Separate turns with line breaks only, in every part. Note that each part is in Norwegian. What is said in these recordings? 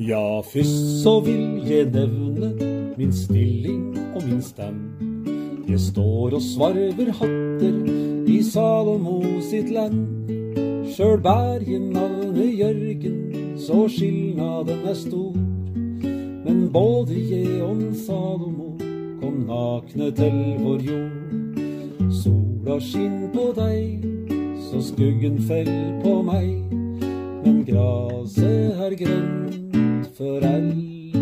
Ja, først så vil jeg nevne min stilling og min stand. Jeg står og svarver hatter i Salomo sitt land. Sjøl bærer jeg navnet Jørgen, så skilnaden er stor. Men både jeg og Salomo kom nakne til vår jord. Sola skinn på deg, så skuggen fell på meg. Men graset er grønt for alle.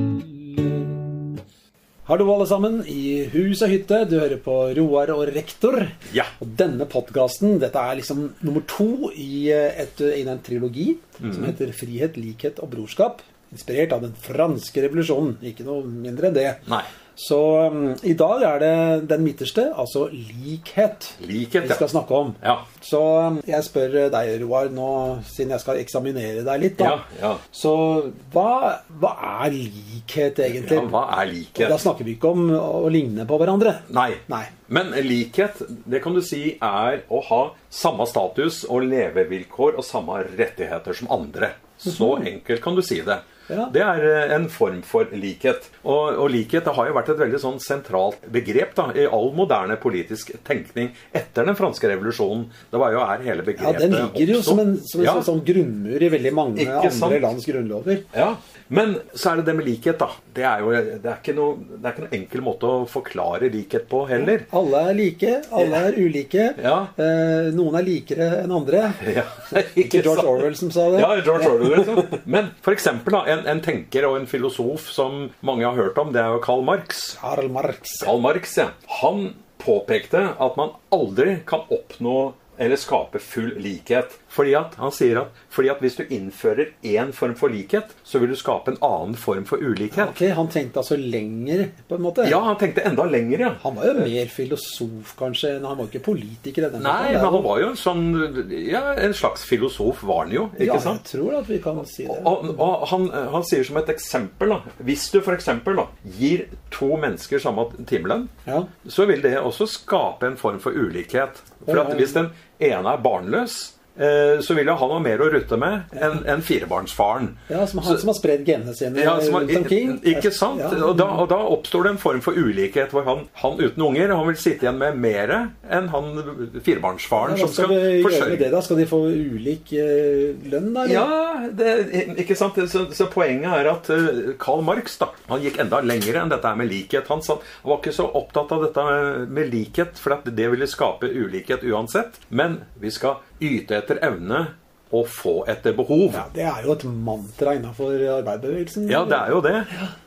Hallo, alle sammen, i hus og hytte. Du hører på Roar og rektor.
Ja.
Og denne podkasten, dette er liksom nummer to i, eh, et, i den trilogi
Mhm.
som heter Frihet, likhet og brorskap. Inspirert av den franske revolusjonen. Ikke noe mindre enn det.
Nei.
Så um, i dag er det den midterste, altså likhet,
Likhet,
vi skal
ja.
snakke om.
Ja.
Så um, jeg spør deg, Roar, nå siden jeg skal eksaminere deg litt, da.
Ja, ja.
Så hva, hva er likhet egentlig?
ja hva er
Da
likhet?
snakker vi ikke om å ligne på hverandre.
Nei.
Nei.
Men likhet, det kan du si er å ha samme status og levevilkår og samme rettigheter som andre. Så enkelt kan du si
Mhm.
det.
Ja.
Det er eh, en form for likhet. Og, og likhet det har jo vært et veldig sånn sentralt begrep da, i all moderne politisk tenkning etter den franske revolusjonen. Det var jo her hele
Ja,
begrepet
Den ligger jo
oppsto.
som en, som en
Ja.
sånn- sånn grunnmur i veldig mange
Ikke
andre
sant?
lands grunnlover.
Ja, Men så er det det med likhet, da. Det er jo det er ikke noe, det er ikke noe enkel måte å forklare likhet på heller.
Alle er like, alle er ulike.
Ja.
Eh, noen er likere enn andre.
Ja,
Ikke George
sant?
Orwell som sa det.
Ja, George Orwell. Liksom. Men for eksempel, da, en, en tenker og en filosof som mange har hørt om, det er jo Karl Marx.
Karl Marx.
Karl Marx, ja. Han påpekte at man aldri kan oppnå eller skape full likhet. Fordi at, han sier at, fordi at hvis du innfører én form for likhet, så vil du skape en annen form for ulikhet.
Ok, Han tenkte altså lenger, på en måte?
Ja, han tenkte enda lenger, ja.
Han var jo mer filosof, kanskje. enn- Han var jo ikke politiker. i den
Nei,
forstand.
men han var jo en sånn Ja, en slags filosof var han jo, ikke
ja,
sant?
Jeg tror at vi kan si det.
Og, og han, han sier som et eksempel, da Hvis du f.eks. gir to mennesker samme timelønn,
Ja.
så vil det også skape en form for ulikhet. For at hvis den ene er barnløs, eh, så vil jo han ha mer å rutte med enn enn firebarnsfaren.
Ja, som Han
Så-
som har spredd genene sine
ja, som,
rundt omkring.
ikke sant?
Ja.
Og da, og da oppstår det en form for ulikhet hvor han, han uten unger han vil sitte igjen med mer enn han
Ja,
firebarnsfaren
hva
som
skal vi
skal
gjøre med
forsørge.
det, da? Skal de få ulik eh, lønn, da? eller?
Ja, det, ikke sant? Så, så poenget er at eh, Karl Marx da, han gikk enda lenger enn dette her med likhet. Han, sa, han var ikke så opptatt av dette med, med likhet, for at det ville skape ulikhet uansett. Men vi skal yte etter evne og få etter behov.
Det er jo et mantra innafor arbeiderbevegelsen.
Ja, det er jo det.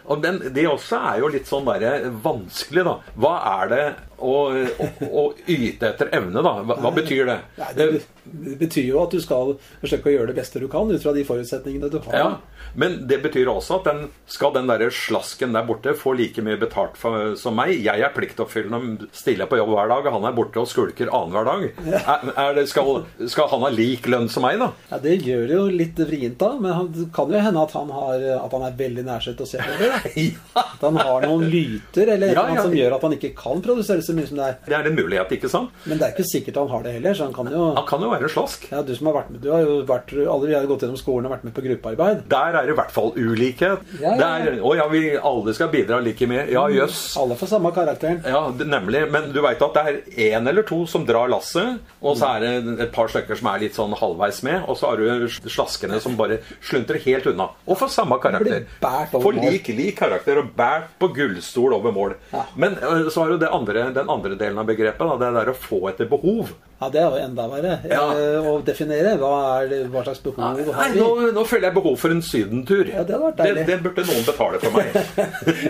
Og den, det også er jo litt sånn der vanskelig, da. Hva er det å, å, å yte etter evne, da? Hva, hva betyr det? Eh,
Nei, det, det betyr jo at du skal forsøke å gjøre det beste du kan ut fra de forutsetningene du har.
Ja, Men det betyr også at den, skal den derre slasken der borte få like mye betalt for, som meg? Jeg er pliktoppfyllende, stiller på jobb hver dag, og han er borte og skulker annenhver dag. Er, er det, skal, skal han ha lik lønn som meg, da?
Ja, Det gjør det jo litt vrient, da. Men han- det kan jo hende at han, har, at han er veldig nærsett å se på det. da.
Ja.
At han har noen lyter eller et eller
Ja,
annet
ja.
som gjør at han ikke kan produsere så mye som det er.
Det er en mulighet, ikke sant?
Men det er ikke sikkert han har det heller, så han kan jo
Han kan jo være slask.
ja, Du som har vært med, du har jo vært, alle vi har gått gjennom skolen og vært med på gruppearbeid.
Der er det i hvert fall ulikhet.
Ja, ja, ja.
Der, å ja, vi alle skal bidra like mye. Ja, jøss.
Alle får samme karakteren.
Ja, det- nemlig. Men du veit at det er én eller to som drar lasset, og så er det et par stykker som er litt sånn halvveis med, og så har du slaskene som bare sluntrer helt unna. Og får samme karakter.
Blir bært over
Får
mål.
lik lik karakter og bært på gullstol over mål. Men eh, så har du det andre, den andre delen av begrepet, da, det er der å få etter behov.
Ja, Det er jo enda verre
Ja.
eh, å definere. Hva, er det, hva slags behov
Nei,
har vi?
nå, nå føler jeg behov for en sydentur.
Ja, det hadde vært deilig.
den, den burde noen betale for meg.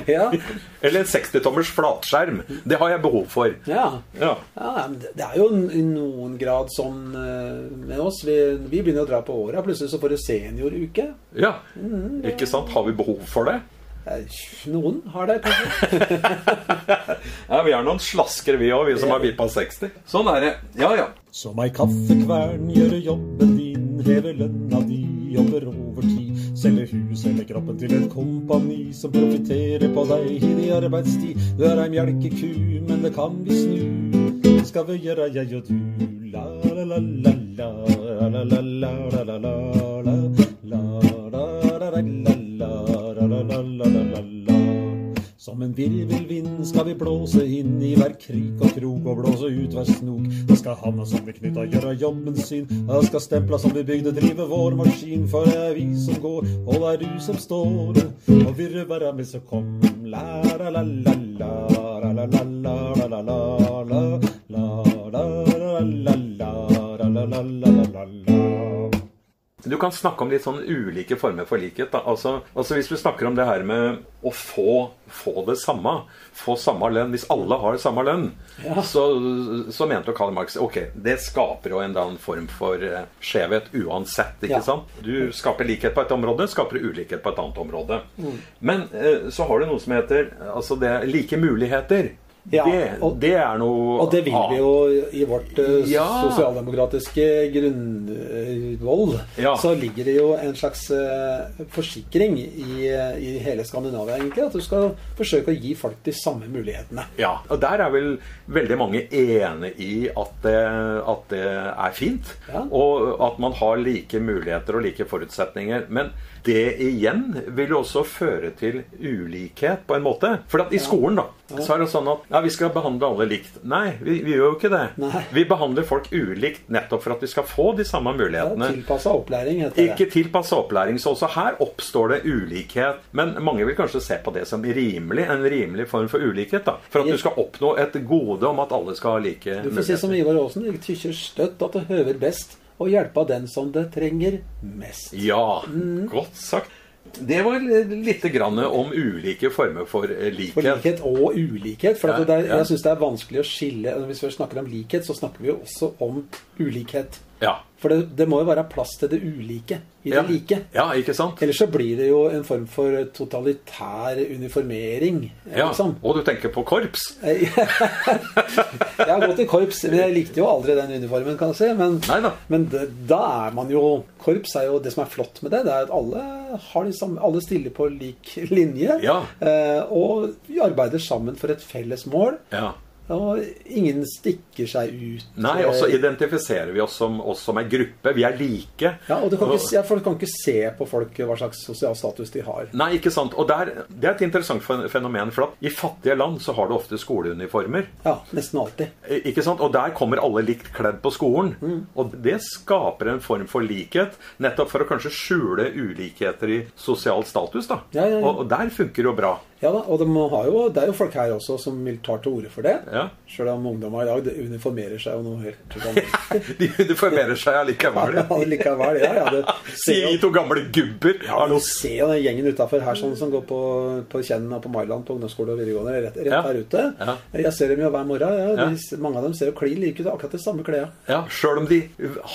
Ja.
Eller en 60-tommers flatskjerm. Det har jeg behov for.
Ja.
Ja.
Ja, men det- det er jo n- i noen grad sånn eh, med oss. Vi, vi begynner å dra på åra. Plutselig så får du senioruke.
ja.
Mm.
Ikke sant? Har vi behov for det?
Eh, Noen har det, kanskje.
Ja, Vi er noen slasker, vi òg, vi som har vippa 60. Sånn er det. Ja, ja.
Som ei kaffekvern gjøre jobben din, heve lønna di, jobber overtid. Selge hus eller kroppen til et kompani som profitterer på deg i din arbeidstid. Du er ei melkeku, men det kan vi snu. Det skal vi gjøre, jeg og du. La la la la la la la la la la la la la la la la la la
la-la-la-la-la-la. Som en virvelvind skal vi blåse inn i hver krik og krok og blåse ut hver snok. Da skal hanna som blir knytta gjøre jobben sin. Da skal stempla som blir bygde drive vår maskin. For det er vi som går, og det er du som står. Og virre være med så kom. La-la-la-la-la, la-la-la-la-la-la, la-la-la-la-la-la-la-la-la.
Du kan snakke om litt sånn ulike former for likhet. Da. Altså, altså Hvis du snakker om det her med å få, få det samme, få samme lønn Hvis alle har samme lønn, så, så mente jo Karl Marx ok, det skaper jo en eller annen form for eh, skjevhet uansett. ikke
Ja.
sant? Du skaper likhet på et område, skaper du ulikhet på et annet område.
Mm.
Men eh, så har du noe som heter eh, altså det er like muligheter.
Ja,
det,
og-
det er noe
Og det vil vi
annet.
jo i vårt eh,
Ja.
sosialdemokratiske grunnvoll.
Ja.
Så ligger det jo en slags eh, forsikring i, eh, i hele Skandinavia, egentlig. At du skal forsøke å gi folk de samme mulighetene.
Ja, og der er vel veldig mange enig i at det, at det er fint.
Ja.
Og at man har like muligheter og like forutsetninger. Men det igjen vil jo også føre til ulikhet, på en måte. For at i skolen, da, så er det sånn at ja, vi skal behandle alle likt. Nei, vi, vi gjør jo ikke det.
Nei.
Vi behandler folk ulikt nettopp for at vi skal få de samme mulighetene.
Tilpassa opplæring, heter
Ikke
det.
tilpassa opplæring. Så også her oppstår det ulikhet. Men mange vil kanskje se på det som rimelig, en rimelig form for ulikhet. da. For at du skal oppnå et gode om at alle skal ha like
Du får si som Ivar Aasen, jeg tykker støtt at det høver best å hjelpe den som det trenger mest.
Ja,
Mm.
godt sagt. Det var lite grann om ulike former for eh, likhet.
For likhet og ulikhet. For at det er,
Ja, ja.
jeg syns det er vanskelig å skille Hvis vi snakker om likhet, så snakker vi jo også om ulikhet.
Ja.
For det, det må jo være plass til det ulike i det
Ja.
like.
ja, ikke sant?
Ellers så blir det jo en form for totalitær uniformering. eh,
Ja.
Liksom.
Og du tenker på korps?
Jeg har gått i korps, men jeg likte jo aldri den uniformen, kan jeg si. Men,
Neida.
men det, da er man jo Korps er jo det som er flott med det, det er at alle, har de samme, alle stiller på lik linje.
Ja.
eh, Og vi arbeider sammen for et felles mål.
Ja.
Og ingen stikker seg ut. eh,
Nei, og så identifiserer vi oss som oss som ei gruppe. Vi er like.
Ja, og du kan ikke, ja, Folk kan ikke se på folk hva slags sosial status de har.
Nei, ikke sant. Og der, det er et interessant fen- fenomen. For at i fattige land så har du ofte skoleuniformer.
Ja, Nesten alltid.
Eh, Ikke sant? Og der kommer alle likt kledd på skolen.
Mm.
Og det skaper en form for likhet, nettopp for å kanskje skjule ulikheter i sosial status. da.
Ja, ja, ja.
Og, og der funker det jo bra.
Ja da, og de har jo, Det er jo folk her også som vil ta til orde for det.
Ja.
Sjøl om ungdommer i dag det uniformerer seg jo noe helt sånn.
De uniformerer seg allikevel.
Ja, likevel, ja, ja, det
Sier
ser jo,
de to gamle gubber. har
du
noe s-
ser jo den gjengen utafor her sånn, som går på, på Kjenn og på Mailand på ungdomsskole og videregående. Rett, rett
Ja.
her ute.
Ja.
Jeg ser dem jo hver morgen. Ja.
Ja.
De, mange av dem ser jo klin like ut. Akkurat de samme klærne.
Ja, Sjøl om de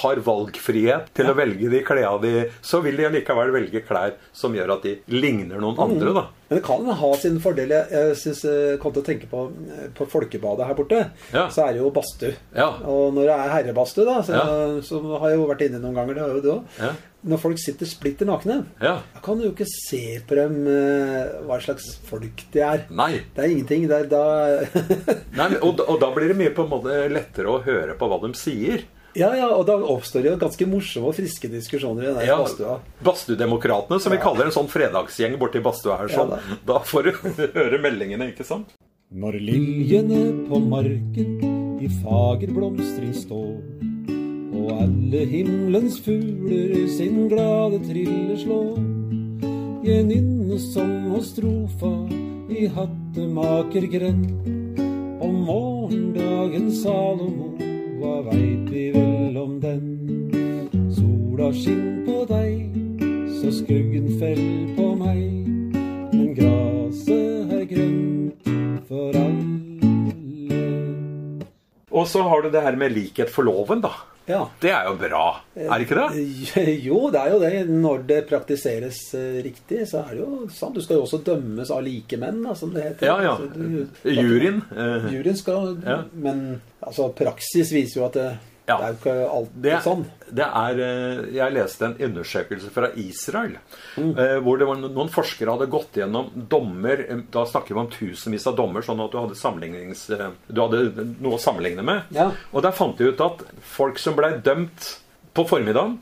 har valgfrihet til å velge de klærne de Så vil de allikevel velge klær som gjør at de ligner
Mm.
noen andre, da.
Men det kan ha sin fordel. Jeg, jeg synes, eh, kom til å tenke på, eh, på folkebadet her borte.
Ja.
Så er det jo badstue.
Ja.
Og når det er herrebadstue, da, så,
Ja.
så har jeg jo vært inne noen ganger, det har jo du òg.
Ja.
Når folk sitter splitter nakne,
Ja.
da kan du jo ikke se på dem eh, hva slags folk de er.
Nei.
Det er ingenting. Det er, da
Nei, men- og, og da blir det mye på en måte lettere å høre på hva de sier.
Ja, ja, og da oppstår det jo ganske morsomme og friske diskusjoner i den der
Ja,
badstua.
Badstuedemokratene, som vi kaller en sånn fredagsgjeng borti badstua her. Sånn.
Ja,
da får du høre meldingene, ikke sant?
Når liljene på marken i fager blomstring står, og alle himmelens fugler i sin glade trille slår. Gjeninne som hos strofa i hattemakergrend. Om morgendagen Salomo, hva veit vi vel om den? Sola skinn på deg, så skuggen fell på meg. Men graset er grønt for alle.
Og så har du det her med likhet for loven, da.
Ja.
Det er jo bra, er det ikke det?
Jo, det er jo det. Når det praktiseres eh, riktig, så er det jo sant. Du skal jo også dømmes av like menn, da, som det heter.
Ja, ja.
Så du-
Juryen. eh,
Juryen skal
Ja.
Men altså, praksis viser jo at det,
Ja.
det er jo ikke alltid
Det,
sånn.
det er eh, Jeg leste en undersøkelse fra Israel
Mm.
eh, hvor det var no- noen forskere hadde gått gjennom dommer eh, Da snakker vi om tusenvis av dommer, sånn at du hadde, sammenlignings, eh, du hadde noe å sammenligne med.
Ja.
Og der fant de ut at folk som ble dømt på formiddagen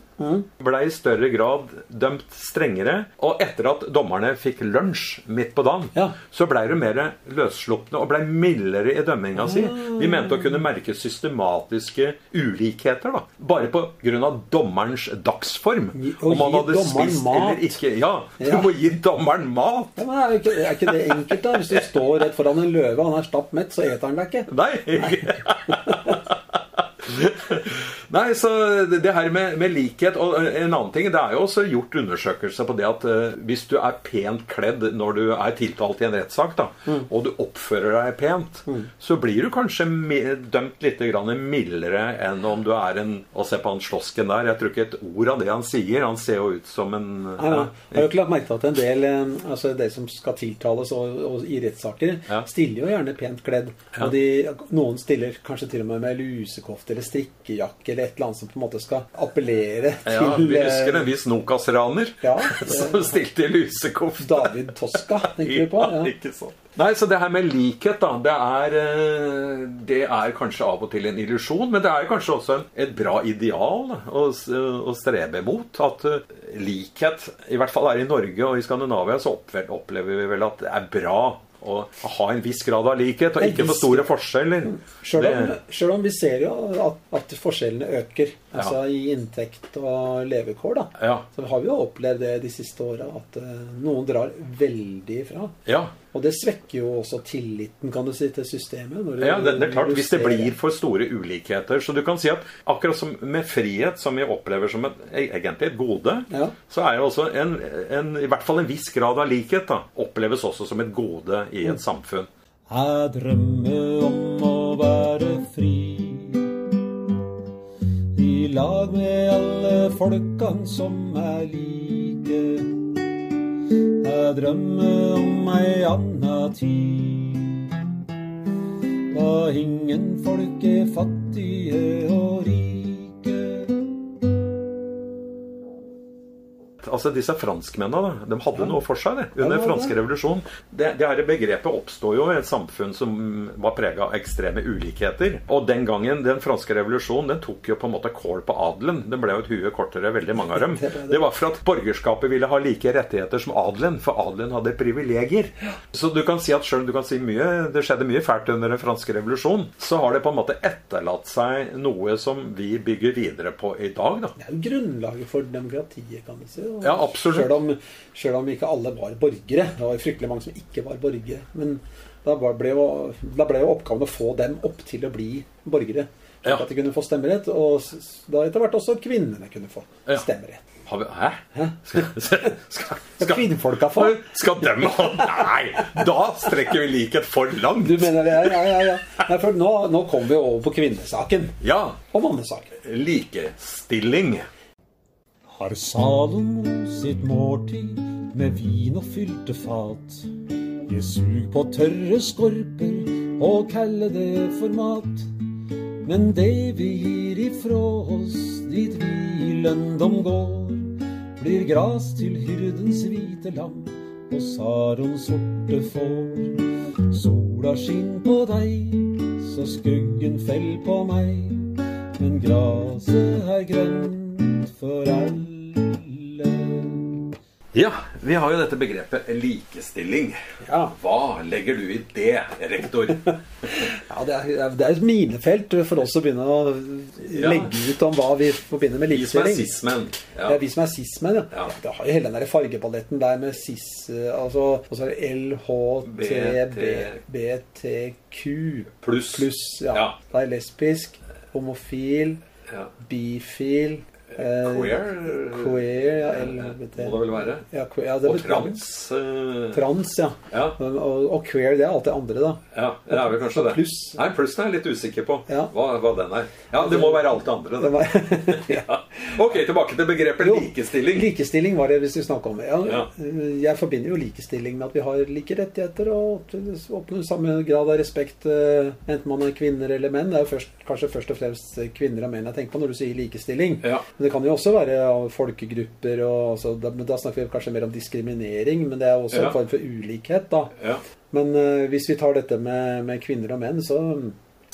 ble i større grad dømt strengere. Og etter at dommerne fikk lunsj midt på dagen,
Ja.
så ble de mer løsslupne og ble mildere i dømminga
Ah.
si. De mente å kunne merke systematiske ulikheter, da. Bare på grunn av dommerens dagsform.
Gi- å
Om han
gi
hadde
dommeren
spist
mat.
eller ikke. Ja, du
Ja.
må gi dommeren mat!
Ja, men er, ikke, er ikke det enkelt, da? Hvis du står rett foran en løve, og han er stapp mett, så eter han deg ikke.
Nei. Nei, så det det her med, med likhet Og eh, en annen ting, det er jo også gjort undersøkelser på det at eh, hvis du er pent kledd når du er tiltalt i en rettssak, da,
Mm.
og du oppfører deg pent, så blir du kanskje mi- dømt litt grann mildere enn om du er en Og se på han slåsken der, jeg tror ikke et ord av det han sier. Han ser jo ut som en
Ja, ja. Jeg har jo ikke lagt merke til at en del eh, altså de som skal tiltales og, og i rettssaker,
Ja.
stiller jo gjerne pent kledd. Og de, noen stiller kanskje til og med med lusekofte eller strikkejakke eller et eller annet som på en måte skal appellere til
Ja, vi
eh,
husker en viss Nokas-raner
Ja,
som stilte i lusekofte.
David Toska, tenker vi på.
Ja,
Ja.
ikke sant. Nei, så det her med likhet, da, det er, eh, det er kanskje av og til en illusjon, men det er kanskje også en, et bra ideal da, å, s- å strebe mot. At eh, likhet, i hvert fall her i Norge og i Skandinavia, så oppve- opplever vi vel at det er bra å ha en viss grad av likhet, og
En
ikke for
viss
store forskjeller.
Sjøl om,
Det-
Mm. selv om vi ser jo at, at forskjellene øker, altså i inntekt og levekår, da.
Ja.
Så har vi jo opplevd det de siste åra, at eh, noen drar veldig ifra.
ja.
Og det svekker jo også tilliten, kan du si, til systemet. når du-
Ja, det, det er klart,
du
hvis det
ser-
blir for store ulikheter. Så du kan si at akkurat som med frihet, som vi opplever som et, e, egentlig et gode,
Ja.
så er jo også en, en, i hvert fall en viss grad av likhet da, oppleves også som et gode i et samfunn.
Jeg drømmer om å være fri. I lag med alle folkene som jeg liker. Jeg drømmer om ei anna tid. Da ingen folk er fattige og rike.
Altså Disse franskmennene da, de hadde noe for seg det, under
Ja, det var
franske revolusjon. Det, det her begrepet oppstod jo i et samfunn som var prega av ekstreme ulikheter. Og den gangen, den franske revolusjonen, den tok jo på en måte kål på adelen. Den ble jo et hue kortere, veldig mange av dem.
Det ble det.
Det var for at borgerskapet ville ha like rettigheter som adelen, for adelen hadde privilegier. Så du kan si at selv om du kan si mye, det skjedde mye fælt under den franske revolusjonen, så har det på en måte etterlatt seg noe som vi bygger videre på i dag, da.
Det er jo grunnlaget for demokratiet, kan du si. og
Ja, absolutt.
Selv om, selv om ikke alle var borgere. Det var jo fryktelig mange som ikke var borgere. Men da var- ble jo, da ble jo oppgaven å få dem opp til å bli borgere. Slik
Ja.
at de kunne få stemmerett. Og s- s- da etter hvert også kvinnene kunne få
Ja.
stemmerett.
Har vi, hæ? Skal, skal, skal,
Kvinnfolka får.
Skal dem ha Nei! Da strekker vi likhet for langt.
Du mener det? Ja, ja, ja. ja. Nei, for nå, nå kommer vi over på kvinnesaken.
Ja.
Og mannesaken.
Likestilling.
har Salomo sitt måltid med vin og fylte fat. Jeg sug på tørre skorper og kaller det for mat. Men det vi gir ifra oss dit vi i lønndom går, blir gras til hyrdens hvite lam og Sarons sorte får. Sola skinn på deg, så skuggen fell på meg. Men graset er grønt for alle.
Ja, vi har jo dette begrepet likestilling.
Ja.
Hva legger du i det, rektor?
Ja, det er, det er et minefelt for oss å begynne å
Ja.
legge ut om hva vi forbinder med
Vi som er
likestilling.
sismen.
Ja.
Ja.
vi som er sismen, ja.
Ja.
Det har jo hele den der fargeballetten der med sis... eh, Altså, og så er det LHT,
BT.
BTQ
Pluss.
pluss, ja.
Ja.
Da er lesbisk, homofil,
Ja.
bifil eh,
Queer. eh,
Queer, ja.
Må
LGBT.
det vel være.
Ja, queer, ja, det
Og
betyr-
trans. eh,
Trans, ja.
Ja.
Og, og queer, det er alt det andre, da.
ja, det er vel kanskje det.
Pluss.
Nei, plussen er jeg litt usikker på.
Ja.
Hva, hva den er. Ja, det må være alt det andre.
Det
Det.
var,
Ja. Ok, tilbake til begrepet
Jo,
likestilling.
Likestilling var det vi skulle snakke om. Ja,
Ja.
Jeg forbinder jo likestilling med at vi har like rettigheter og oppnår samme grad av respekt eh, enten man er kvinner eller menn. Det er jo først, kanskje først og fremst kvinner og menn jeg tenker på når du sier likestilling.
Ja.
Men det kan jo også være av folkegrupper og altså, da, men da snakker vi kanskje mer om diskriminering, men det er jo også
Ja.
en form for ulikhet, da.
Ja.
Men eh, hvis vi tar dette med, med kvinner og menn, så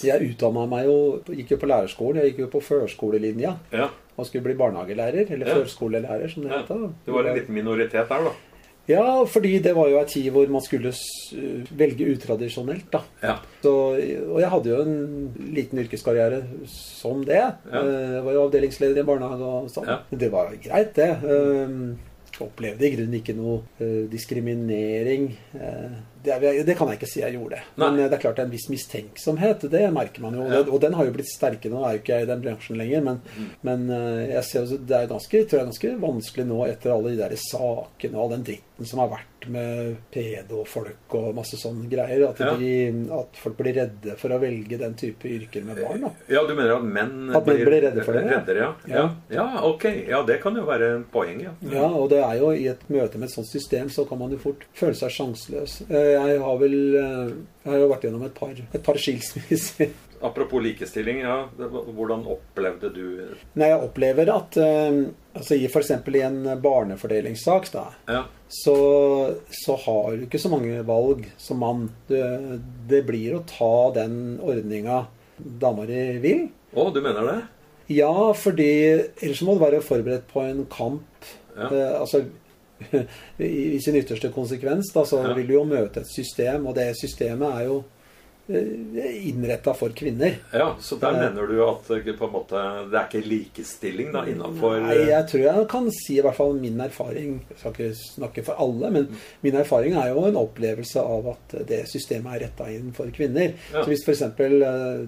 jeg utdanna meg jo Gikk jo på lærerskolen, jeg gikk jo på førskolelinja.
Ja.
man skulle bli barnehagelærer, eller
Ja.
førskolelærer, som det
Ja.
het da.
Det var en liten minoritet der, da.
Ja, fordi det var jo ei tid hvor man skulle s- eh, velge utradisjonelt, da.
Ja.
Så, og jeg hadde jo en liten yrkeskarriere som det.
Ja.
Eh, Jeg var jo avdelingsleder i en barnehage og sånn.
Ja.
Det var greit, det. Eh, Opplevde i grunnen ikke noe eh, diskriminering. Eh, Det, er- det kan jeg ikke si jeg gjorde.
Nei.
Men eh, det er klart det er en viss mistenksomhet. Det merker man jo.
Ja.
Og, det, og den har jo blitt sterkere. Nå er jo ikke jeg i den bransjen lenger, men, men eh, jeg ser, jo- det er ganske, tror jeg er ganske vanskelig nå etter alle de der sakene og all den dritten som har vært med pedofolk og masse sånne greier. At
Ja.
de at folk blir redde for å velge den type yrker med barn. Da.
Ja, du mener at menn
At menn blir redde for det, ja.
Reddere, ja. Ja. ja, ok. Ja, det kan jo være en poeng, ja.
Ja, og det er jo I et møte med et sånt system så kan man jo fort føle seg sjanseløs. Eh, Jeg har vel eh, jeg har jo vært gjennom et par, et par skilsmisser.
Apropos likestilling, ja. det var- Hvordan opplevde du
Nei, jeg opplever at eh, altså i f.eks. i en barnefordelingssak, da,
Ja.
så, så har du ikke så mange valg som mann. Det, det blir å ta den ordninga dama di vil.
Å, du mener det?
Ja, fordi ellers må du være forberedt på en kamp.
Ja.
Eh, altså, i, I sin ytterste konsekvens da, så
Ja.
vil du jo møte et system, og det systemet er jo innretta for kvinner.
Ja, så der
Ja.
mener du at eh, på en måte, det er ikke likestilling da, eh, innafor
Nei, jeg tror jeg kan si i hvert fall min erfaring Jeg skal ikke snakke for alle, men min erfaring er jo en opplevelse av at det systemet er retta inn for kvinner.
Ja.
Så hvis f.eks.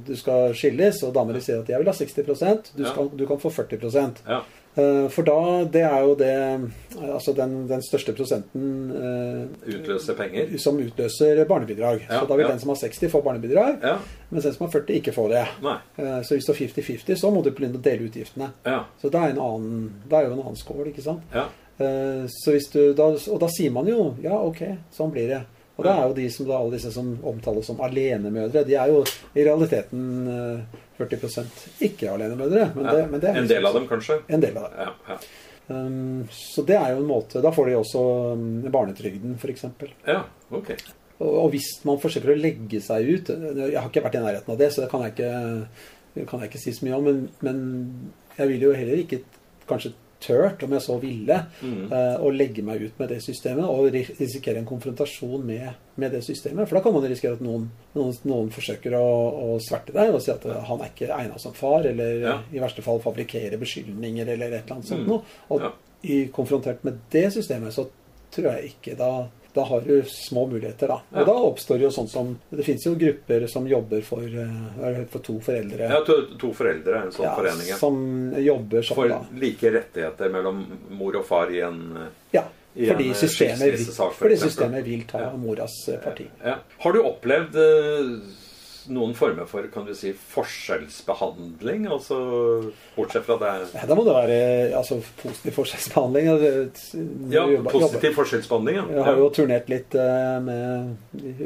du skal skilles, og damer sier at 'jeg vil ha 60 du,
Ja.
skal, du kan få 40
Ja.
Eh, For da, det er jo det eh, Altså den, den største prosenten eh,
Utløse penger?
som utløser barnebidrag.
Ja,
så da vil
ja.
den som har 60, få barnebidrag,
Ja.
mens den som har 40, ikke få det.
Nei.
Eh, Så hvis det er 50-50, så må du begynne å dele utgiftene.
Ja.
Så det er, en annen, det er jo en annen skål, ikke sant.
Ja.
Eh, Så hvis du, da, og da sier man jo ja, ok, sånn blir det. Og det er jo de som da, alle disse som omtales som alenemødre. De er jo i realiteten eh, 40 ikke alenemødre. Men det, men det er
en del av dem, kanskje?
En del av det.
Ja, ja.
Um, så det er jo en måte. Da får de også um, barnetrygden, f.eks.
ja ok.
Og, og hvis man forsøker å legge seg ut Jeg har ikke vært i nærheten av det, så det kan jeg ikke, det kan jeg ikke si så mye om. Men, men jeg ville jo heller ikke kanskje tørt, om jeg så ville,
Mm.
eh, å legge meg ut med det systemet og ri- risikere en konfrontasjon med, med det systemet. For da kan man risikere at noen, noen, noen forsøker å, å sverte deg og si at eh, han er ikke egna som far, eller eh,
Ja.
i verste fall fabrikkere beskyldninger eller et eller annet sånt
Mm.
noe. Og
Ja.
i, konfrontert med det systemet, så tror jeg ikke da da har du små muligheter, da. Og
Ja.
da oppstår jo sånn som Det fins jo grupper som jobber for, eh, er det for to foreldre.
Ja, to, to foreldre er en sånn
Ja,
forening. ja.
som jobber sånn,
For
da.
like rettigheter mellom mor og far i en eh,
Ja,
I
fordi
en
systemet, vil,
skilsmissesak, for
fordi
eksempel.
systemet vil ta
Ja.
moras eh, parti.
ja. Har du opplevd eh, noen former for kan du si, forskjellsbehandling? Altså, bortsett fra det
Ja, da må det være eh, altså, positiv forskjellsbehandling. altså, eh,
Ja,
jobbe- jobbe.
positiv forskjellsbehandling, ja.
Jeg har jo turnert litt eh, med,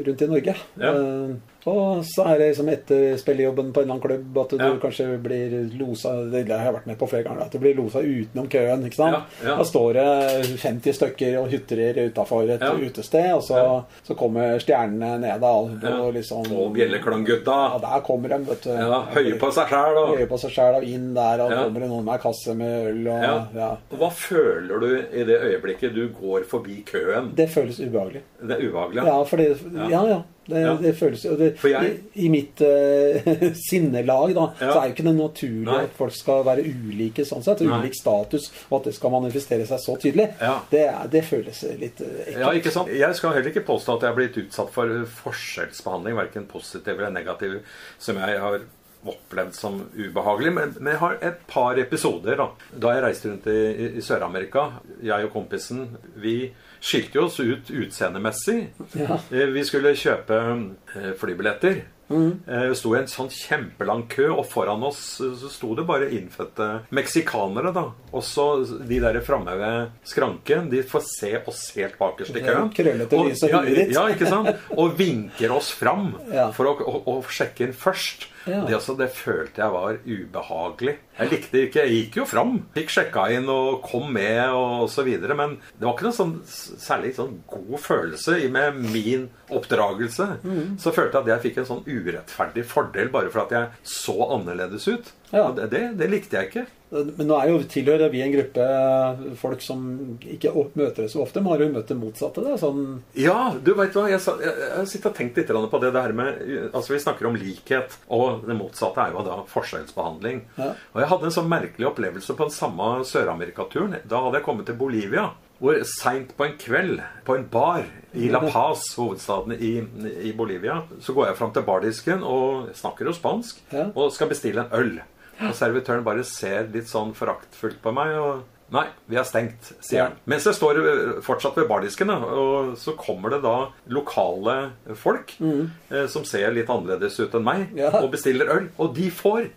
rundt i Norge.
Ja.
Eh, og så er det liksom etter spillejobben på en eller annen klubb at du
Ja. kanskje
kanskje blir losa Det har jeg vært med på flere ganger. At du blir losa utenom køen. ikke sant?
Ja, ja.
Da står det 50 stykker og hutrer utafor et
Ja.
utested, og så,
Ja.
så kommer stjernene ned av
Ja.
og liksom
Og bjelleklanggutta.
Ja, der kommer de, vet du.
Ja, høye på seg sjæl og
Høye på seg sjæl og inn der, og
Ja.
kommer det noen med ei kasse med øl og
ja.
ja.
Og Hva føler du i det øyeblikket du går forbi køen?
Det føles ubehagelig.
Det er ubehagelig.
Ja, for det,
Ja.
ja, ja. Det,
Ja.
det føles jo det,
For jeg-
i, I mitt eh, sinnelag, da,
Ja.
så er jo ikke det naturlig
Nei.
at folk skal være ulike sånn sett.
Nei.
Ulik status, og at det skal manifestere seg så tydelig.
Ja.
Det, er- det føles litt eh, ekkelt.
Ja, ikke sant? Jeg skal heller ikke påstå at jeg er blitt utsatt for forskjellsbehandling, verken positiv eller negativ, som jeg har opplevd som ubehagelig. Men, men jeg har et par episoder. Da Da jeg reiste rundt i, i- i Sør-Amerika, jeg og kompisen, vi skilte jo oss ut utseendemessig.
Ja.
Eh, Vi skulle kjøpe eh, flybilletter.
Mm.
Eh, Det sto en sånn kjempelang kø, og foran oss eh, så sto det bare innfødte meksikanere. da. Og så de der framme ved skranken, de får se oss helt bakerst i
Ja,
køen.
krøllete
Og-
lys og
ja,
huet ditt.
ja, ikke sant? Og vinker oss fram
Ja.
for å, å, å sjekke inn først.
Ja.
Det, altså, det følte jeg var ubehagelig. Jeg likte ikke Jeg gikk jo fram. Fikk sjekka inn og kom med og så videre. Men det var ikke noe sånn s- særlig sånn god følelse i med min oppdragelse. Så følte jeg at jeg fikk en sånn urettferdig fordel bare for at jeg så annerledes ut.
Ja.
Og Det, det, det likte jeg ikke.
Men nå er jo tilhører vi en gruppe eh, folk som ikke o- møter det så ofte. Man har jo møtt det motsatte. Da. Sånn,
Ja, du vet hva, jeg, sa- jeg, jeg sitter og tenkt litt grann på det der med Altså, vi snakker om likhet, og det motsatte er jo da forskjellsbehandling.
Ja.
Og jeg hadde en sånn merkelig opplevelse på den samme Sør-Amerika-turen. Da hadde jeg kommet til Bolivia. Hvor seint på en kveld, på en bar i La Paz, hovedstaden i, i Bolivia, så går jeg fram til bardisken og snakker jo spansk
Ja.
og skal bestille en øl. Og servitøren bare ser litt sånn foraktfullt på meg og Nei, vi er stengt, sier han. Mens jeg står eh, fortsatt ved bardisken, da, og så kommer det da lokale folk eh, som ser litt annerledes ut enn meg,
Mm. Ja.
og bestiller øl. Og de får!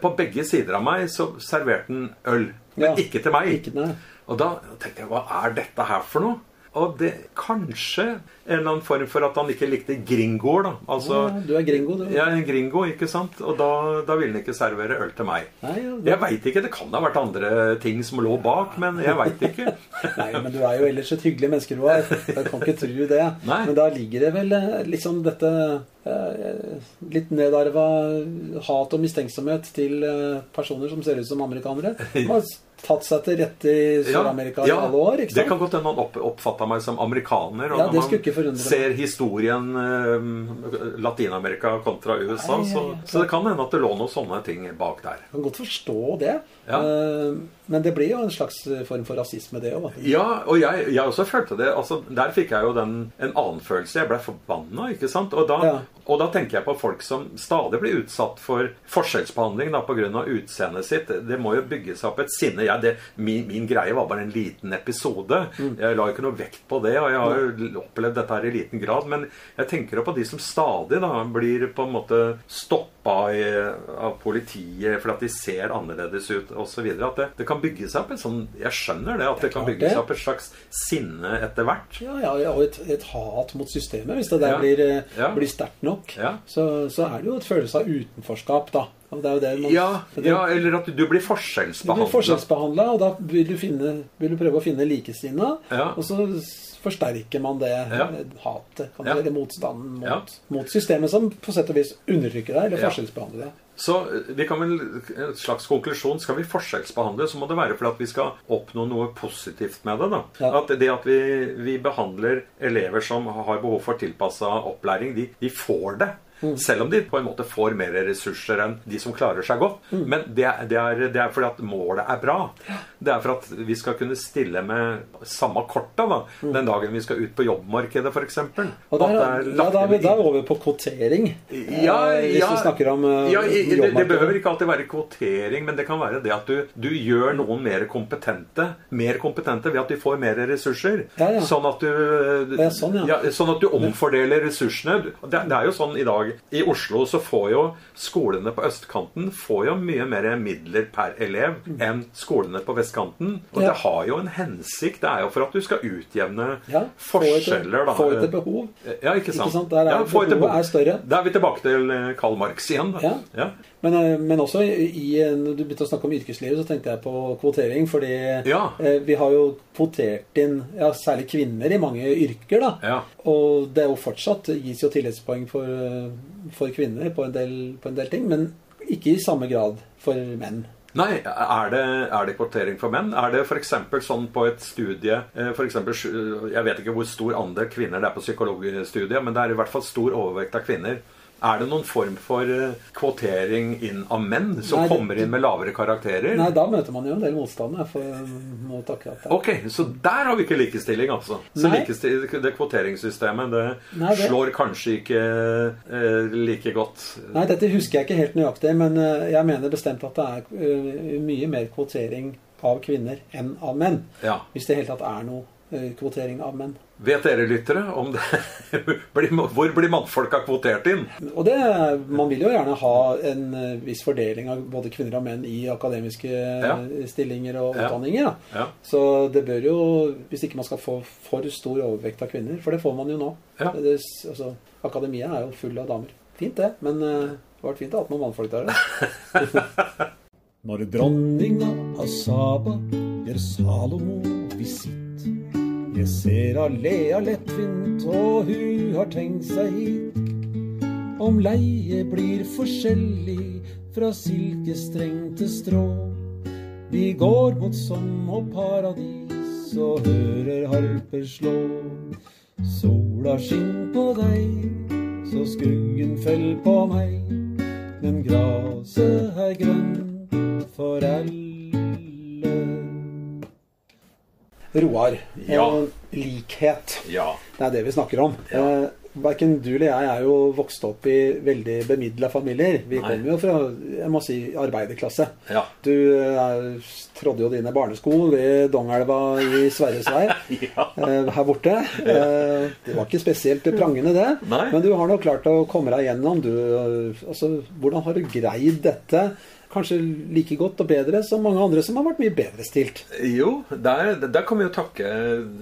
På begge sider av meg så serverte han øl. Men
Ja.
ikke til meg.
Ikke til meg.
Og da tenkte jeg, hva er dette her for noe? Og det kanskje en eller annen form for at han ikke likte gringoer, da. Altså,
ja, du er gringo, du.
jeg er en gringo, ikke sant? Og da, da ville han ikke servere øl til meg.
Nei, ja, det-
Jeg veit ikke. Det kan ha vært andre ting som lå bak, men jeg veit ikke.
Nei, men du er jo ellers et hyggelig menneske, du er. Jeg kan ikke tro det.
Nei.
Men da ligger det vel eh, liksom dette eh, litt nedarva hat og mistenksomhet til eh, personer som ser ut som amerikanere. De har tatt seg til rette i Sør-Amerika i alle år, ikke
Det kan
sant?
godt hende han opp, oppfatta meg som amerikaner. Og
Ja, det
når
skulle ikke forundre
man
meg.
ser historien eh, Latin-Amerika kontra USA,
Nei, ja,
så,
ja.
så det kan hende at det lå noen sånne ting bak der.
Jeg kan godt forstå det.
Ja.
Eh, Men det blir jo en slags eh, form for rasisme, det òg.
Ja, og jeg, jeg også følte det. Altså, der fikk jeg jo den, en annen følelse. Jeg ble forbanna, ikke sant? Og da,
Ja.
og da tenker jeg på folk som stadig blir utsatt for forskjellsbehandling da, pga. utseendet sitt. Det må jo bygges opp et sinne. Jeg, det, min, min greie var bare en liten episode. Jeg la ikke noe vekt på det, og jeg har jo opplevd dette her i liten grad. Men jeg tenker jo på de som stadig da, blir på en måte stoppa i, av politiet for at de ser annerledes ut osv. At det, det kan bygge seg opp en sånn Jeg skjønner det, at det, kan
klart
bygge
det.
seg opp et slags sinne etter hvert.
Ja, ja, ja, og et, et hat mot systemet. Hvis det der
Ja.
blir, eh,
Ja.
blir sterkt nok,
Ja.
så, så er det jo et følelse av utenforskap, da. Og det er jo det man,
Ja,
det-
ja, eller at du blir
Du blir
forskjellsbehandla.
forskjellsbehandla, og da vil du, finne, vil du prøve å finne likesinnede.
Ja.
Og så s- forsterker man det
Ja.
eh, hatet, kan du
Ja.
si, eller motstanden mot,
Ja.
mot systemet, som på sett og vis undertrykker deg, eller
Ja.
forskjellsbehandler deg.
Så eh, vi kan vel en slags konklusjon Skal vi forskjellsbehandle, så må det være for at vi skal oppnå noe positivt med det. da.
Ja.
At det at vi, vi behandler elever som har behov for tilpassa opplæring, de, de får det.
Mm.
Selv om de på en måte får mer ressurser enn de som klarer seg godt.
Mm.
Men det, er- det, er, det er fordi at målet er bra. Det er for at vi skal kunne stille med samme korta da, den dagen vi skal ut på jobbmarkedet, f.eks.
Mm. Og der, ja, da er vi da er vi over på kvotering.
ja,
Eh, hvis
ja.
vi snakker om eh,
ja, i- det, det
jobbmarkedet.
behøver ikke alltid være kvotering, men det kan være det at du, du gjør noen mer kompetente Mer kompetente ved at de får mer ressurser.
Ja, ja.
Sånn at du
Ja, sånn, ja.
Sånn at du omfordeler ressursene. Du- Det, det er jo sånn i dag I Oslo så får jo skolene på østkanten får jo mye mer midler per elev enn skolene på vestkanten. Og
Ja.
det har jo en hensikt. Det er jo for at du skal utjevne
Ja, få et-
forskjeller, da. Eh.
Få et behov.
Ja, ikke sant.
Ikke sant? Der er-
ja, få et
behovet
tilbake-
er større.
Da er vi tilbake til eh, Karl Marx igjen. Da.
Ja. Men, eh, men også i, i- når du begynte å snakke om yrkeslivet, så tenkte jeg på kvotering. Fordi
Ja.
eh, vi har jo kvotert inn ja, særlig kvinner i mange yrker. da.
Ja.
Og det er jo fortsatt gis jo tilleggspoeng for, eh, for kvinner på en, del, på en del ting, men ikke i samme grad for menn.
Nei, er det, er det kvotering for menn? Er det f.eks. sånn på et studie eh, for eksempel, sju- Jeg vet ikke hvor stor andel kvinner det er på psykologstudiet, men det er i hvert fall stor overvekt av kvinner. Er det noen form for eh, kvotering inn av menn som
Nei, det-
kommer inn med lavere karakterer?
Nei, da møter man jo en del motstand da, for, mot akkurat det.
Ok, så der har vi ikke likestilling, altså. Så
Nei.
likestil- det kvoteringssystemet det,
Nei, det-
slår kanskje ikke eh, like godt
Nei, dette husker jeg ikke helt nøyaktig, men eh, jeg mener bestemt at det er eh, mye mer kvotering av kvinner enn av menn.
Ja.
Hvis det i hele tatt er noe eh, kvotering av menn.
Vet dere lyttere om det blir, Hvor blir mannfolka kvotert inn?
Og det, man vil jo gjerne ha en eh, viss fordeling av både kvinner og menn i akademiske eh, stillinger og
Ja.
utdanninger. Da.
Ja.
Så det bør jo, hvis ikke man skal få for stor overvekt av kvinner, for det får man jo nå
Ja.
det, altså, Akademia er jo full av damer. Fint det, men eh, det har vært fint å ha hatt noen mannfolk der. da.
Når dronninga av Saba gjør Salomo visitt. Jeg ser Alea lettvint, og hun har tenkt seg hit. om leie blir forskjellig fra silkestreng til strå. Vi går mot som og paradis og hører harper slå. Sola skinn på deg, så skuggen fell på meg. Men graset er grønt for alle.
Roar,
Ja.
eh, likhet.
Ja.
Det er det vi snakker om. Eh, Verken du eller jeg er jo vokst opp i veldig bemidla familier. Vi
Nei.
kommer jo fra jeg må si, arbeiderklasse.
Ja.
Du eh, trådde jo dine barnesko ved Dongelva i Sverresvei
Ja.
eh, her borte. Eh, Det var ikke spesielt prangende, det.
Nei.
Men du har nå klart å komme deg gjennom. Du, eh, altså, hvordan har du greid dette? Kanskje like godt og bedre som mange andre som har vært mye bedre stilt.
Jo, der, der kan vi jo takke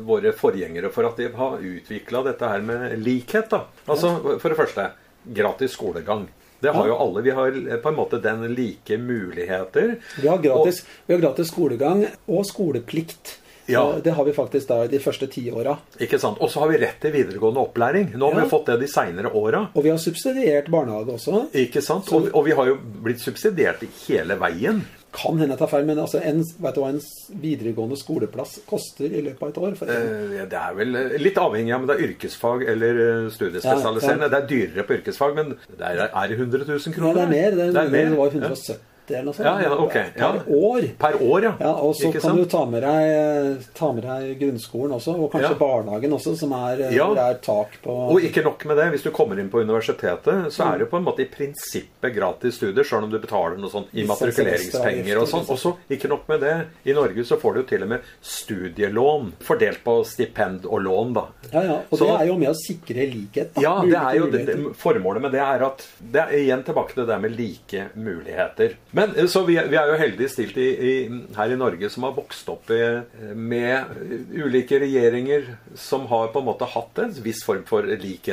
våre forgjengere for at de har utvikla dette her med likhet. da. Altså, For det første, gratis skolegang. Det har jo alle. Vi har eh, på en måte den like muligheter.
Vi har gratis, vi har gratis skolegang og skoleplikt.
Ja.
Eh, Det har vi faktisk da i de første ti åra.
Og, ikke sant? Og så har vi rett til videregående opplæring. Nå har
Ja.
vi fått det de seinere åra.
Og vi har subsidiert barnehage også.
Ikke sant? Og, og vi har jo blitt subsidiert hele veien.
Kan hende jeg tar feil, men altså en, vet du hva en s- videregående skoleplass koster i løpet av et år? For eksempel?
Eh, Det er vel eh, litt avhengig av om det er yrkesfag eller eh,
Ja,
studiespesialiserende.
ja.
Det er dyrere på yrkesfag, men det er, er det 100 000
Nei,
kroner.
det er mer. Det, er,
Det er mer,
det var
ja.
170 eller noe sånt.
Ja, ja, ok. Ja.
Per år.
Per år, ja.
Ja, og så
Ikke
kan du
sant?
ta med, deg, eh, ta med deg grunnskolen også, og kanskje
Ja.
barnehagen også, som er, eh,
Ja.
hvor det er tak på
Og ikke nok med det, hvis du kommer inn på universitetet, så er det på en måte i prinsippet gratis studier, sjøl om du betaler noe sånn immatrikuleringspenger og sånn. Og så, ikke nok med det, i Norge så får du jo til og med studielån fordelt på stipend og lån, da.
Ja, ja. Og
Så-
det er jo med å sikre likhet. da.
Ja, det
Ulike
er jo det,
muligheter.
det- Formålet med det er at Det er igjen tilbake til det med like muligheter. Men eh, så vi, er- vi er jo heldig stilt i, i, her i Norge som har vokst opp i, med eh, ulike regjeringer som har på en måte hatt en viss form for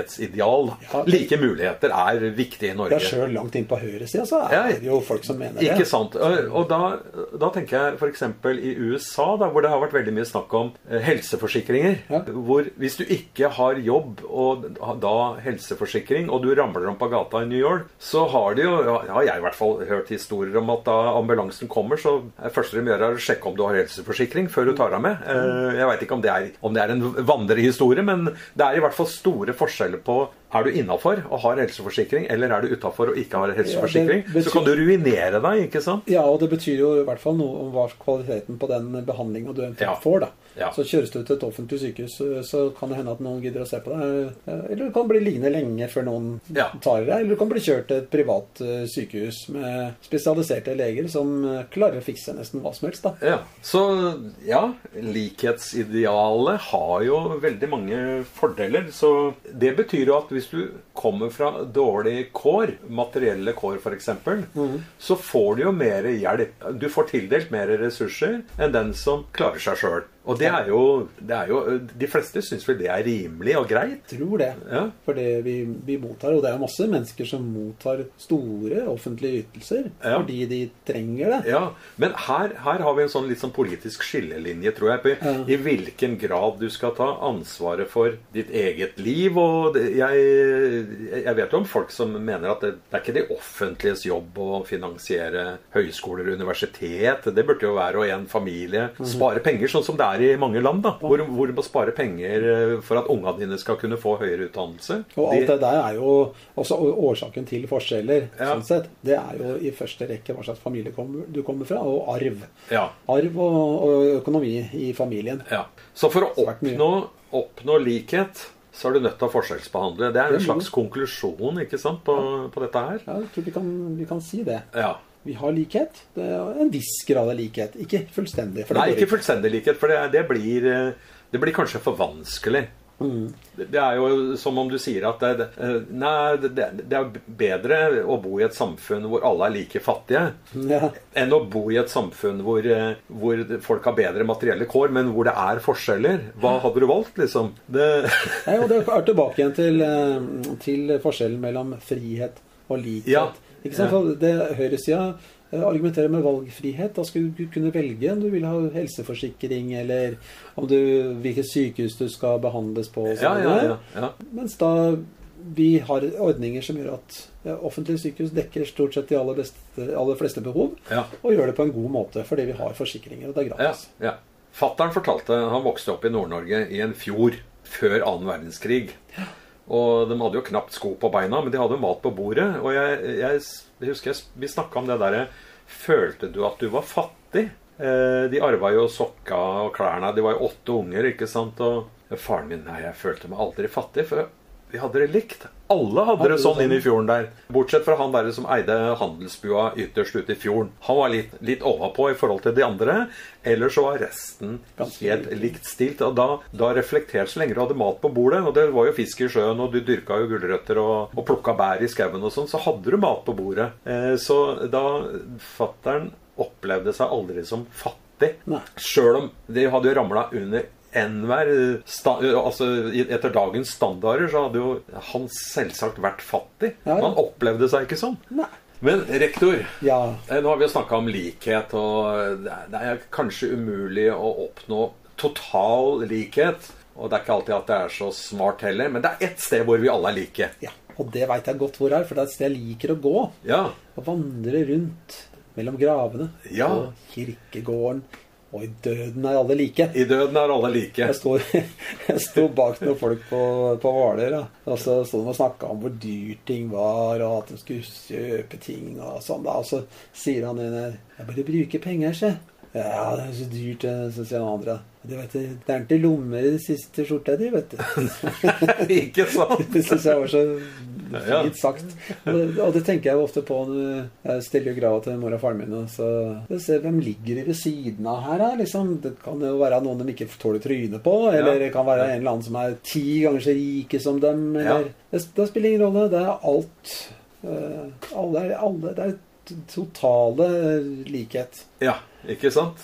likhetsideal.
Ja.
Like muligheter er viktig i Norge.
Ja, sjøl langt inn på høyresida så
Ja,
er det jo folk som mener
Ikke
det.
sant. Og og da, da tenker jeg f.eks. i USA, da, hvor det har vært veldig mye snakk om eh, helseforsikringer.
Ja.
Hvor hvis du ikke har jobb og da helseforsikring, og du ramler om på gata i New York, så har de jo Har jeg i hvert fall hørt historier om at da ambulansen kommer, så er det første de gjør, er å sjekke om du har helseforsikring før du tar av med.
Mm.
Eh, Jeg veit ikke om det, er, om det er en vandrehistorie, men det er i hvert fall store forskjeller på er du innafor og har helseforsikring, eller er du utafor og ikke har helseforsikring?
betyr-
Så kan du ruinere deg, ikke sant?
Ja, og det betyr jo i hvert fall noe om hva kvaliteten på den behandlinga du eventuelt
Ja.
får, da.
Ja.
Så kjøres du til et offentlig sykehus, så- så kan det hende at noen gidder å se på deg. Eller du kan bli liggende lenge før noen
Ja.
tar deg. Eller du kan bli kjørt til et privat eh, sykehus med spesialiserte leger som eh, klarer å fikse nesten hva som helst, da.
Ja. Så ja, likhetsidealet har jo veldig mange fordeler. Så det betyr jo at hvis du kommer fra dårlige kår, materielle kår f.eks., så får du jo mer hjelp. Du får tildelt mer ressurser enn den som klarer seg sjøl. Og det er, jo, det er jo De fleste syns vel det er rimelig og greit.
Tror det.
Ja.
For det vi, vi mottar, og det er masse mennesker som mottar store offentlige ytelser
Ja.
fordi de trenger det.
Ja, Men her, her har vi en sånn litt sånn politisk skillelinje, tror jeg. På, I hvilken grad du skal ta ansvaret for ditt eget liv. Og det, jeg, jeg vet jo om folk som mener at det, det er ikke det offentliges jobb å finansiere høyskoler og universitet. Det burde jo hver og en familie
Mhm.
spare penger, sånn som det er i mange land. da, Hvor, hvor du må spare penger eh, for at unga dine skal kunne få høyere utdannelse.
Og alt
De-
det der er jo også å- årsaken til forskjeller,
Ja.
sånn sett. Det er jo i første rekke hva slags familie kom- du kommer fra, og arv.
Ja.
Arv og, og økonomi i familien.
Ja. Så for å
Svært mye.
oppnå, oppnå likhet, så er du nødt til å forskjellsbehandle. Det
Mm.
er en slags konklusjon ikke sant, på, på dette her.
Ja, jeg tror vi kan, vi kan si det.
Ja.
Vi har likhet. Det er en viss grad av likhet. Ikke fullstendig. for det
Nei,
går
ikke fullstendig likhet, for det, det, blir, eh, det blir kanskje for vanskelig.
Mm.
Det det er jo som om du sier at det, det- eh, Nei, det, det- det er bedre å bo i et samfunn hvor alle er like fattige,
Ja.
enn å bo i et samfunn hvor, eh, hvor folk har bedre materielle kår, men hvor det er forskjeller. Hva
Mm.
hadde du valgt, liksom? Det,
Nei, og det er tilbake igjen til, eh, til forskjellen mellom frihet og likhet.
Ja.
Ikke sant?
Ja.
For det Høyresida eh, argumenterer med valgfrihet. Da skulle du kunne velge om du vil ha helseforsikring, eller om du, hvilket sykehus du skal behandles på. og
ja,
sånn.
ja, ja, ja.
Mens da vi har ordninger som gjør at ja, offentlige sykehus dekker stort sett de aller, beste, aller fleste behov,
Ja.
og gjør det på en god måte fordi vi har forsikringer, og det er
Ja,
gratis.
ja. Fatteren fortalte han vokste opp i Nord-Norge i en fjord før annen verdenskrig. Og de hadde jo knapt sko på beina, men de hadde mat på bordet. Og jeg, jeg, s- jeg husker jeg, s- vi snakka om det derre Følte du at du var fattig? Eh, de arva jo sokka og klærne. De var jo åtte unger, ikke sant? Og faren min Nei, jeg følte meg aldri fattig. for vi hadde det likt. Alle hadde det
det
sånn
sånn.
inne i fjorden der. Bortsett fra han der som eide handelsbua ytterst ute i fjorden. Han var litt, litt ovenpå i forhold til de andre. Ellers så var resten
Ganske
helt likt stilt. Og da, da reflekterte så lenge du hadde mat på bordet, og det var jo fisk i sjøen, og du dyrka jo gulrøtter og, og plukka bær i skauen og sånn, så hadde du mat på bordet. Eh, så da fattern opplevde seg aldri som fattig.
Nei.
Sjøl om de hadde jo ramla under enhver sta altså i- Etter dagens standarder så hadde jo han selvsagt vært fattig.
Ja, ja.
Han opplevde seg ikke sånn.
Nei.
Men rektor,
Ja.
eh, nå har vi jo snakka om likhet, og eh, det er- det er kanskje umulig å oppnå total likhet. Og det er ikke alltid at det er så smart heller, men det er ett sted hvor vi alle er like.
ja. Og det veit jeg godt hvor er, for det er et sted jeg liker å gå.
Ja.
Å vandre rundt mellom gravene
Ja.
og kirkegården. Og i døden er alle like.
I døden er alle like.
Jeg sto, jeg sto bak noen folk på, på Hvaler, da. og så sto de og snakka om hvor dyrt ting var, og at de skulle kjøpe ting og sånn. da. Og så sier han ene her 'Jeg bare bruker penger, se'. Ja, det er så dyrt, det», så sier han andre. Du vet, det det er ikke lommer i den siste skjorta di, vet du.
ikke sant?
Det syns jeg var så
Ja.
fint sagt. Og det, og det tenker jeg jo ofte på når jeg stiller jo grava til mor og faren min. Og så jeg ser hvem ligger ved siden av her, da. Liksom. Det kan jo være noen de ikke tåler trynet på, eller
Ja.
det kan være en eller annen som er ti ganger så rike som dem. Eller,
Ja.
det, det spiller ingen rolle. Det er alt eh, alle, er- alle, Det er t- totale likhet.
Ja, ikke sant?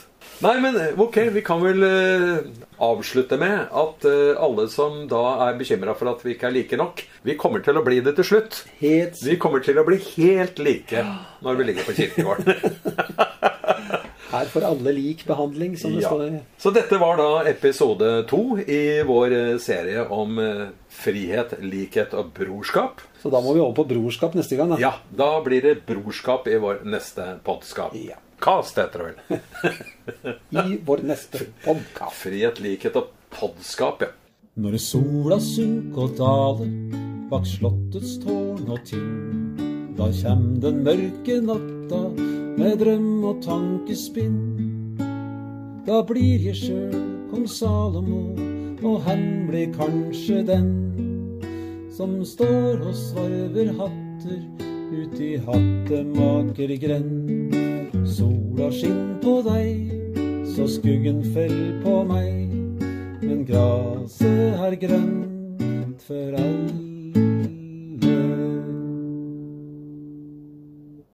Nei, men ok, vi kan vel eh, avslutte med at eh, alle som da er bekymra for at vi ikke er like nok, vi kommer til å bli det til slutt.
Helt
Vi kommer til å bli helt like når vi ligger på kirkegården.
her for alle lik behandling, som det
Ja.
står.
Så dette var da episode to i vår eh, serie om eh, frihet, likhet og brorskap.
Så da må vi over på brorskap neste gang, da.
Ja, da blir det brorskap i vår neste podskap.
Ja.
Cast heter det vel.
I vår neste podkast.
Frihet, likhet og podskap, ja.
Når sola synker og daler bak slottets tårn og ting, da kjem den mørke natta med drøm og tankespinn. Da blir jeg sjøl kong Salomo, og han blir kanskje den som står og svarver hatter uti hattemakergrend. Sola skinn på deg, så skuggen fell på meg. Men graset er grønt for alle.